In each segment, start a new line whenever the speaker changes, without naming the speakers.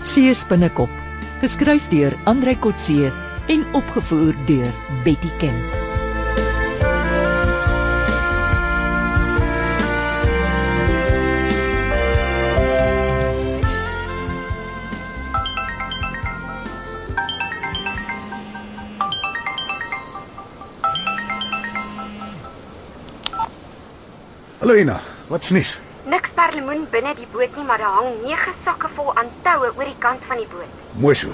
Coetzee se binnekop, geskryf deur Andrei Coetzee en opgevoer deur Betty Ken.
Hallo Ina, wat's nuus?
Niks perlemoen binne die boot nie, maar daar hang 9 sakke vol aan toue oor die kant van die boot.
Mooi so.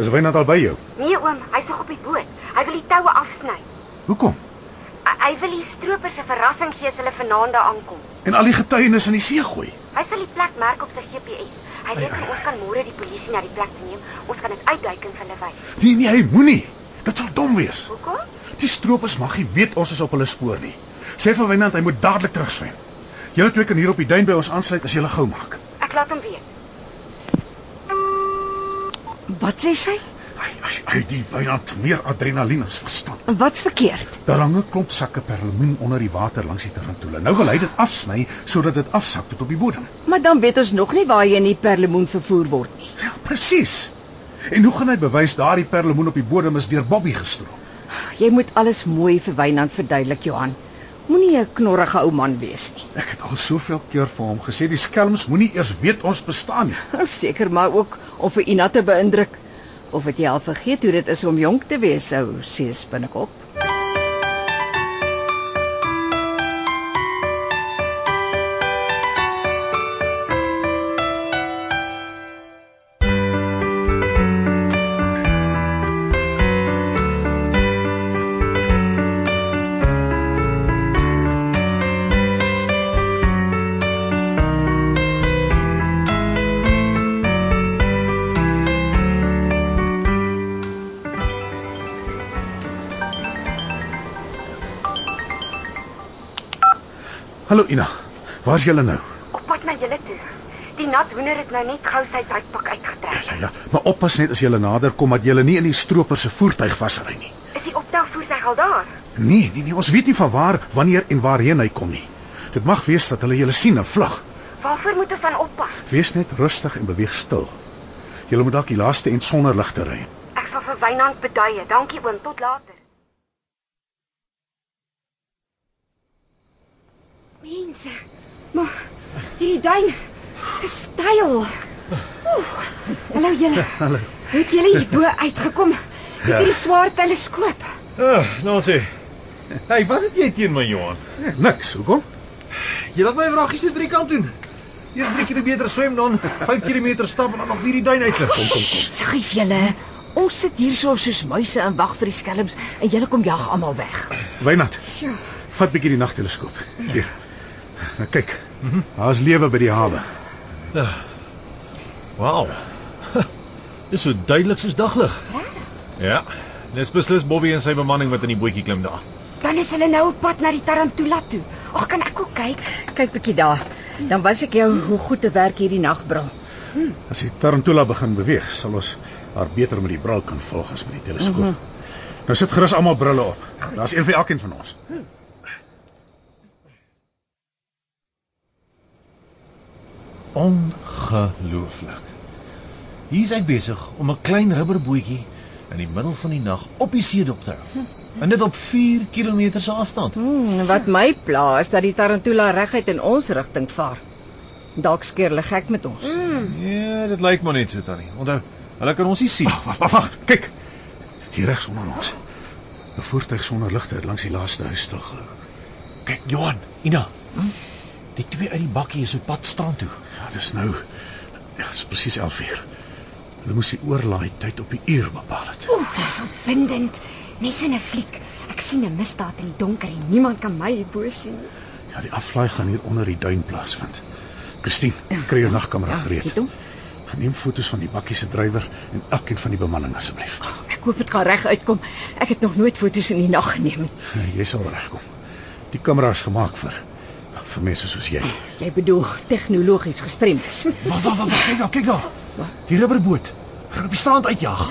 Is Wynand al by jou?
Nee oom, hy's nog op die boot. Hy wil die toue afsny.
Hoekom?
Hy, hy wil die stroopers 'n verrassing gee as hulle vanaand daar aankom.
En al die getuienis in die see gooi.
Hy sal die plek merk op sy GPS. Hy weet
Ai, ai,
nie, ons kan môre die polisie na die plek toe neem. Ons kan dit uitduik en vir hulle wys.
Nee nee, hy moenie. Dit sal dom wees.
Hoekom?
Die stroopers mag nie weet ons is op hulle spoor nie. Sê vir Wynand hy moet dadelik terugswem. Julle twee kan hier op die duin by ons aansluit as julle gou maak.
Ek laat hom weet.
Wat sê sy?
Ai ai, ai die Wynand meer adrenalien as verstand.
Wat's verkeerd?
Daar hang 'n klomp sakke perlemoen onder die water langs die tarantula. Nou wil hy dit afsny sodat dit afsak tot op die bodem.
Maar dan weet ons nog nie waarheen die perlemoen vervoer word nie.
Ja, presies. En hoe gaan hy bewys daardie perlemoen op die bodem is deur Bobby gestroop?
Jy moet alles mooi vir Wynand verduidelik, Johan. Moenie 'n knorrige ou man wees nie.
Ek het al soveel keer vir hom gesê die skelms moenie eers weet ons bestaan nie.
Seker maar ook om vir Ina te beïndruk of het jy al vergeet hoe dit is om jonk te wees, ou sees binnekop.
Hallo Ina. Waar's julle nou?
Op pad na julle toe. Die nat hoender het nou net gou sy duikpak uitgetrek.
Ja ja, maar oppas net as julle nader kom dat julle nie in die stroper se voertuig vasry nie.
Is die optelvoertuig al daar?
Nee, nee nee, ons weet nie van waar, wanneer en waarheen hy kom nie. Dit mag wees dat hulle julle sien en vlug.
Waarvoor moet ons dan oppas?
Wees net rustig en beweeg stil. Julle moet dalk die laaste en sonder ligte ry.
Ek sal vir Wynand beduie. Dankie oom, tot later.
Mense, maar hierdie duin is styl. Oeh, hallo julle. Hallo. Het julle hierbo uitgekom met
Ja.
hierdie swaar teleskoop?
Ag, nou sê. Hey, wat het jy teen my Johan?
Nee, niks, hoekom?
Jy laat my vragies net vir die kant doen. Eers 3 km swem dan 5 km stap en dan nog hierdie duin uitlig. Kom, kom, kom.
Saggies julle. Ons sit hierso soos muise en wag vir die skelms en julle kom jag almal weg.
Wynand. Ja. Vat bietjie die nagteleskoop. Hier. Nou kyk. Daar's lewe by die hawe.
Ja. Wow. Dis so duidelik soos daglig. Ja. Dis beslis Bobby en sy bemanning wat in die bootjie klim daar.
Dan is hulle nou op pad na die Tarantula toe. Ag, kan ek ook kyk?
Kyk bietjie daar. Dan was ek jou hoe goed te werk hierdie nagbril.
As die tarantula begin beweeg, sal ons haar beter met die bril kan volg as met die teleskoop. Mm -hmm. Nou sit gerus almal brille op. Daar's een vir elkeen van ons.
Ongelooflik. Hier's ek besig om 'n klein rubberbootjie in die middel van die nag op die see dop te hou. En dit op 4 km se afstand.
Hmm, wat my pla is dat die tarantula reguit in ons rigting vaar. Dalk skeer hulle gek met ons.
Ja, dit lyk maar net so tannie. Onthou, hulle kan ons nie sien.
Wag, wag, wag. Kyk. Hier regs onder ons. 'n Voertuig sonder ligte het langs die laaste huis stilgehou.
Kyk, Johan, Ina. Die twee uit die bakkie is op pad staan toe.
Ja, dis nou. Ja, dis presies 11uur. Hulle moes die oorlaai tyd op die uur bepaal het.
Oef, dis opwindend. Nes in 'n fliek. Ek sien 'n misdaad in die donker en niemand kan my hierbo sien.
Ja, die aflaai gaan hier onder die duin plaasvind. Christine, kry jou nagkamera gereed.
het hom.
Neem foto's van die bakkie se drywer en elkeen van die bemanning asseblief.
Ek hoop dit gaan reg uitkom. Ek het nog nooit foto's in die nag geneem nie.
Jy sal regkom. Die kamera is gemaak vir vir mense soos jy.
Jy bedoel tegnologies gestremd.
Wag, wag, wag, kyk daar, kyk daar. Die rubberboot. Gaan op die strand uitjag.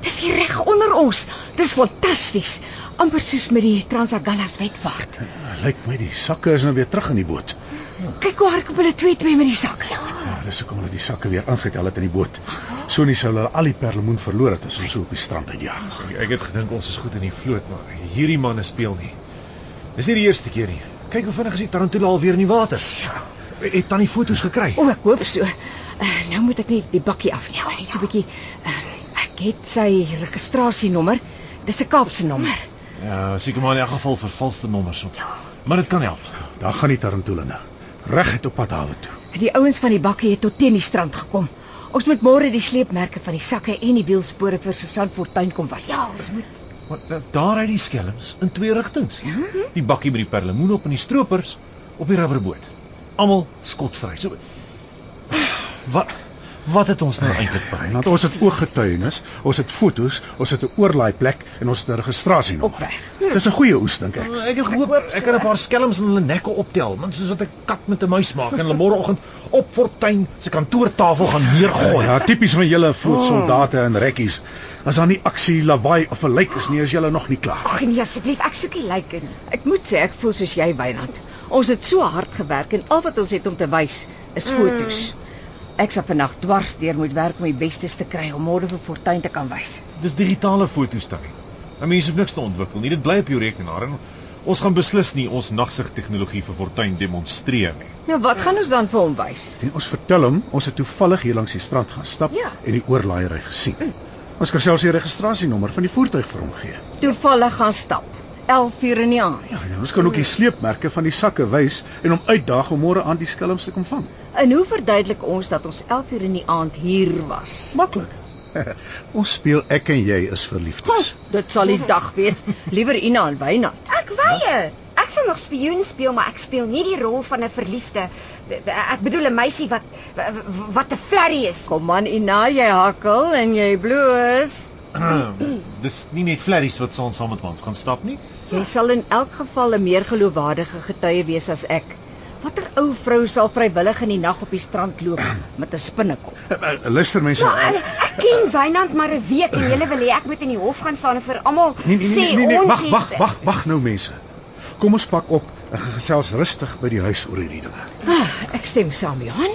Dis hier reg onder ons. Dis fantasties. amper soos met die Transagallas wetvaart.
Lyk my die sakke is nou weer terug in die boot.
Kyk hoe hardloop hulle twee twee met die sak.
Ja, Dis hoekom hulle die sakke weer ingetel het in die boot. Sonie sou hulle al die perlemoen verloor het as ons so op die strand uitjaag.
Ek het gedink ons is goed in die vloot, maar hierdie manne speel nie. Dis nie die eerste keer nie. Kyk hoe vinnig is die tarantula alweer in die water. Het tannie foto's gekry?
O, ek hoop so. Uh, nou moet ek net die bakkie afneem. Net so 'n bietjie. Uh, ek het sy registrasienommer. Dis 'n Kaapse nommer.
Ja, seker maar in elk geval vervalste nommers op. Maar dit kan help.
Ja. Daar gaan die tarantula nou. Reguit op pad hawe toe.
Die ouens van die bakkie het tot teen die strand gekom. Ons moet môre die sleepmerke van die sakke en die wielspore vir Susan Fortuin kom wys. Ja, ons moet
Maar da- daar uit die skelms in twee rigtings.
Mhm.
Die bakkie met die perlemoen op en die stroopers op die rubberboot. Almal skotvry. So wat wat het ons nou eintlik bereik?
Want ons het ooggetuienis, ons het fotos, ons het 'n oorlaai plek en ons het 'n registrasienommer.
opreg.
ja.
Dis 'n goeie oes dink ek.
Nou, Ek het gehoop ek kan 'n paar skelms in hulle nekke optel, want soos wat 'n kat met 'n muis maak en hulle môreoggend op Fortuin se kantoortafel gaan neergooi.
Ja, tipies van julle vloot soldate
Oh.
in rekkies. As daar nie aksie, lawaai of 'n lijk is nie, is julle nog nie klaar.
Ag nee asseblief, ek soek die lyk in.
Ek moet sê ek voel soos jy, Wynand. Ons het so hard gewerk en al wat ons het om te wys is
Mm.
fotos. Ek sal vandag dwars deur moet werk om die bestes te kry om môre vir Fortuin te kan wys.
Dis digitale foto's tannie. 'n Mens hoef niks te ontwikkel nie. Dit bly op jou rekenaar en ons gaan beslis nie ons nagsig tegnologie vir Fortuin demonstreer nie.
Nou wat gaan ons dan vir hom wys?
En ons vertel hom ons het toevallig hier langs die strand gaan stap
Ja.
en die oorlaaiery gesien. Ons kan selfs die registrasienommer van die voertuig vir hom gee.
Toevallig gaan stap. 11 uur in die aand.
Ja, en ons kan ook die sleepmerke van die sakke wys en hom uitdaag om môre aan die skelms te kom vang.
En hoe verduidelik ons dat ons 11 uur in die aand hier was?
Maklik. ons speel ek en jy is verliefdes.
Dit sal die dag wees. Liewer Ina en Wynand.
Ek weier. Ek sal nog spioen speel, maar ek speel nie die rol van 'n verliefde. Ek bedoel 'n meisie wat wat 'n flerry is.
Kom man Ina, jy hakkel en jy bloos.
Dis nie net flerries wat saam saam met ons gaan stap nie.
Jy sal in elk geval 'n meer geloofwaardige getuie wees as ek. Watter ou vrou sal vrywillig in die nag op die strand loop met 'n spinnekop?
Uh, luister mense.
Ja, ek, ek ken Wynand maar 'n week en julle wil hê ek moet in die hof gaan staan en vir almal
Nee, nee,
sê
nee, nee, nee.
ons
wag,
het-
wag, wag, wag nou mense. Kom ons pak op en gaan gesels rustig by die huis oor hierdie dinge.
Ah, ek stem saam, Johan.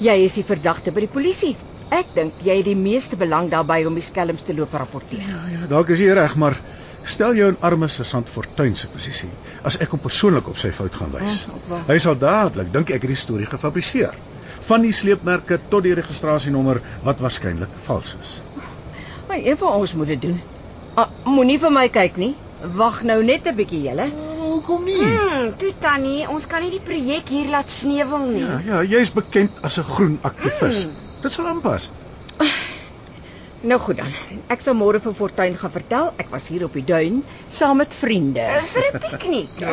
Jy is die verdagte by die polisie. Ek dink jy het die meeste belang daarbey om die skelms te loop rapporteer.
Ja, ja, dalk is jy reg, maar stel jou in arme sergeant Fortuin se posisie as ek hom persoonlik op sy fout gaan wys.
Ja, ek wou.
Hy sal dadelik dink ek het die storie gefabriseer. Van die sleepmerke tot die registrasienommer wat waarskynlik vals is.
Maar een van ons moet dit doen. Ah, Moenie vir my kyk nie. Wag nou net 'n bietjie, julle.
Oh, Hoekom nie?
Hmm, toe tannie, ons kan nie die projek hier laat sneuwel nie.
Ja, ja, jy's bekend as 'n groen aktivis. Dit sal aanpas.
Nou goed dan. Ek sal môre vir Fortuin gaan vertel ek was hier op die duin saam met vriende.
Eh, Vir 'n piknik.
Ja.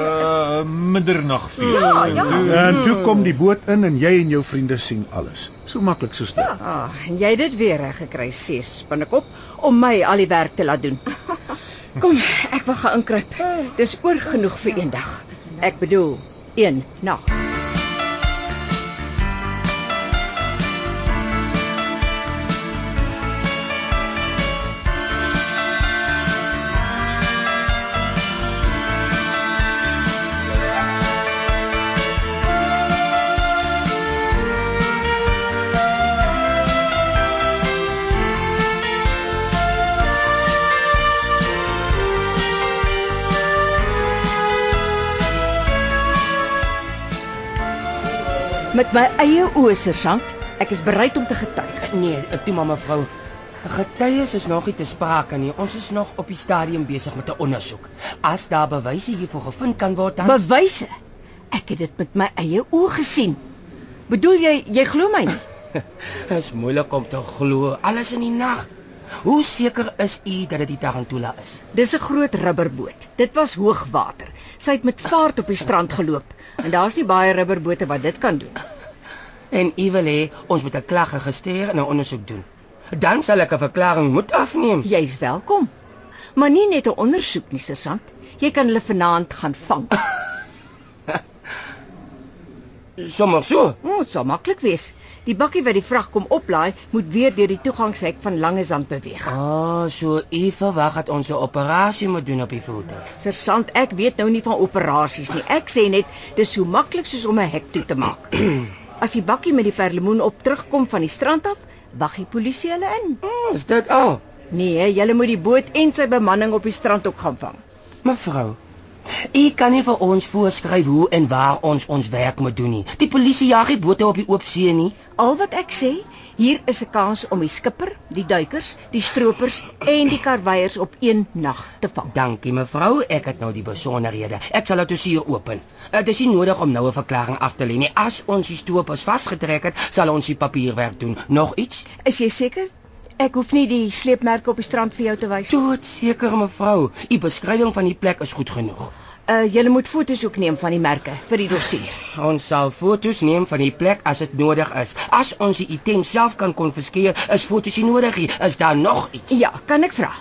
Uh middernagfees.
Ja, ja.
En toe kom die boot in en jy en jou vriende sien alles. So maklik soos dit.
Ah, en jy het dit weer reg gekry, ses spinnekop, om my al die werk te laat doen. Kom, ek wil gaan inkruip. Dis oor genoeg vir eendag. Ek bedoel, een nag. Met my eie oë, sergeant, ek is bereid om te getuig.
Nee, ek toe maar mevrou. Getuies is nog nie te sprake nie. Ons is nog op die stadium besig met 'n ondersoek. As daar bewyse hiervoor gevind kan word, dan
Bewyse. Ek het dit met my eie oë gesien. Bedoel jy jy glo my nie?
is moeilik om te glo. Alles in die nag. Hoe seker is u dat dit die tarantula is?
Dis 'n groot rubberboot. Dit was hoogwater. Sy het met vaart op die strand geloop en daar's nie baie rubberbote wat dit kan doen.
En u wil hê ons moet 'n klag registreer en 'n ondersoek doen. Dan sal ek 'n verklaring moet afneem.
Jy's welkom. Maar nie net 'n ondersoek nie, sergeant. Jy kan hulle vanaand gaan vang.
Sommige so.
O, Dit sal maklik wees. Die bakkie wat die vrag kom oplaai, moet weer deur die toegangshek van Langezand beweeg.
Ah, so u verwag dat ons 'n operasie moet doen op die voertuig.
Sergeant, ek weet nou nie van operasies nie. Ek sê net dis so maklik soos om 'n hek toe te maak. As die bakkie met die verlemoen op terugkom van die strand af, wag die polisie hulle in.
Hmm,
Is dit al?
Nee, julle moet die boot en sy bemanning op die strand ook gaan vang.
Mevrou, u kan nie vir ons voorskryf hoe en waar ons ons werk moet doen nie. Die polisie jag nie bote op die oop see nie.
Al wat ek sê, hier is 'n kans om die skipper, die duikers, die stroopers en die karweiers op een nag te vang.
Dankie mevrou, ek het nou die besonderhede. Ek sal dit hier open. Dit is nie nodig om nou 'n verklaring af te lê nie. As ons die stoopers vasgetrek het, sal ons die papierwerk doen. Nog iets?
Is jy seker? Ek hoef nie die sleepmerke op die strand vir jou te wys.
Tot seker mevrou, u beskrywing van die plek is goed genoeg.
Uh julle moet foto's ook neem van die merke vir die dossier.
Ons sal foto's neem van die plek as dit nodig is. As ons die item self kan konfiskeer, is foto's nie nodig nie. Is daar nog iets?
Ja, kan ek vra?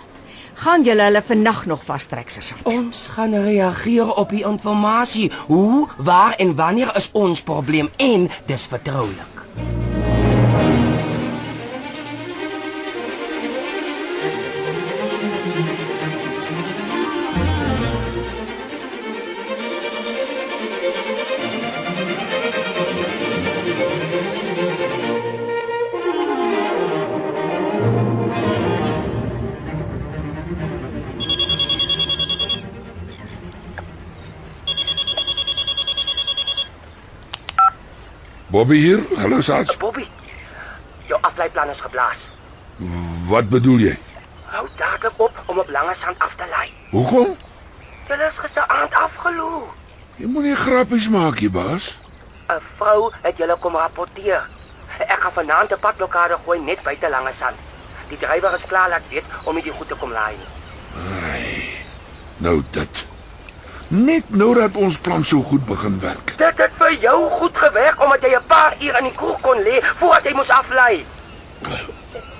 Gaan julle hulle vannag nog vastrek, sergeant?
Ons gaan reageer op die inligting. Hoe, waar en wanneer is ons probleem en dis vertroulik.
Bobby hier. Hallo Sats.
Bobby, jou afleiplan is geblaas.
Wat bedoel jy?
Hou dadelik op om op lange sand af te lei.
Hoekom?
Hulle is gisteraand afgeloop.
Jy moenie grappies maak hier, baas.
'n Vrou het julle kom rapporteer. Ek gaan vanaand 'n padblokkade gooi net buite lange sand. Die drywer is klaar laat weet om nie die goed te kom laai nie.
Ai. Nou dit. Net nou dat ons plan so goed begin werk.
Dit het vir jou goed gewerk omdat jy 'n paar uur in die kroeg kon lê voordat jy moes aflei.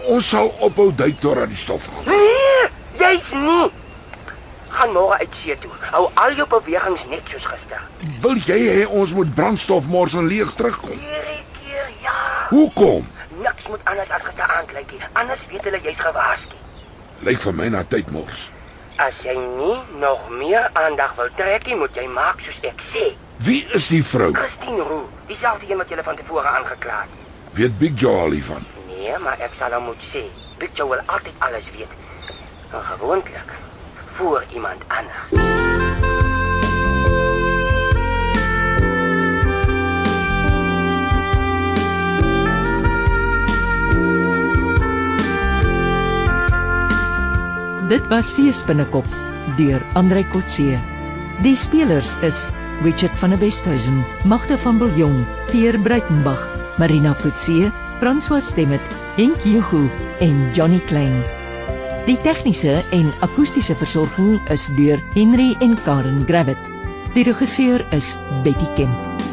Ons sal ophou duik totdat die stof gaan.
Nee, jy's nie. Gaan môre uit see toe. Hou al jou bewegings net soos gister.
Wil jy hê ons moet brandstof mors en leeg terugkom?
Hierdie keer ja.
Hoekom?
Niks moet anders as gisteraand lyk nie. Anders weet hulle jy's gewaarsku.
Lyk vir my na tydmors.
As jy nie nog meer aandag wil trek nie, moet jy maak soos ek sê.
Wie is die vrou?
Christine Roo, dieselfde een wat jy van tevore aangekla het.
Weet Big Joe al hiervan?
Nee, maar ek sal hom moet sê. Big Joe wil altyd alles weet. Maar gewoonlik voor iemand anders.
Dit was Seespinnekop deur Andrei Kotse. Die spelers is Richard van der Westhuizen, Magda van Biljong, Pierre Breitenbach, Marina Kotse, François Stemmet, Henk Jehu en Johnny Klein. Die tegniese en akoestiese versorging is deur Henry en Karen Gravett. Die regisseur is Betty Kemp.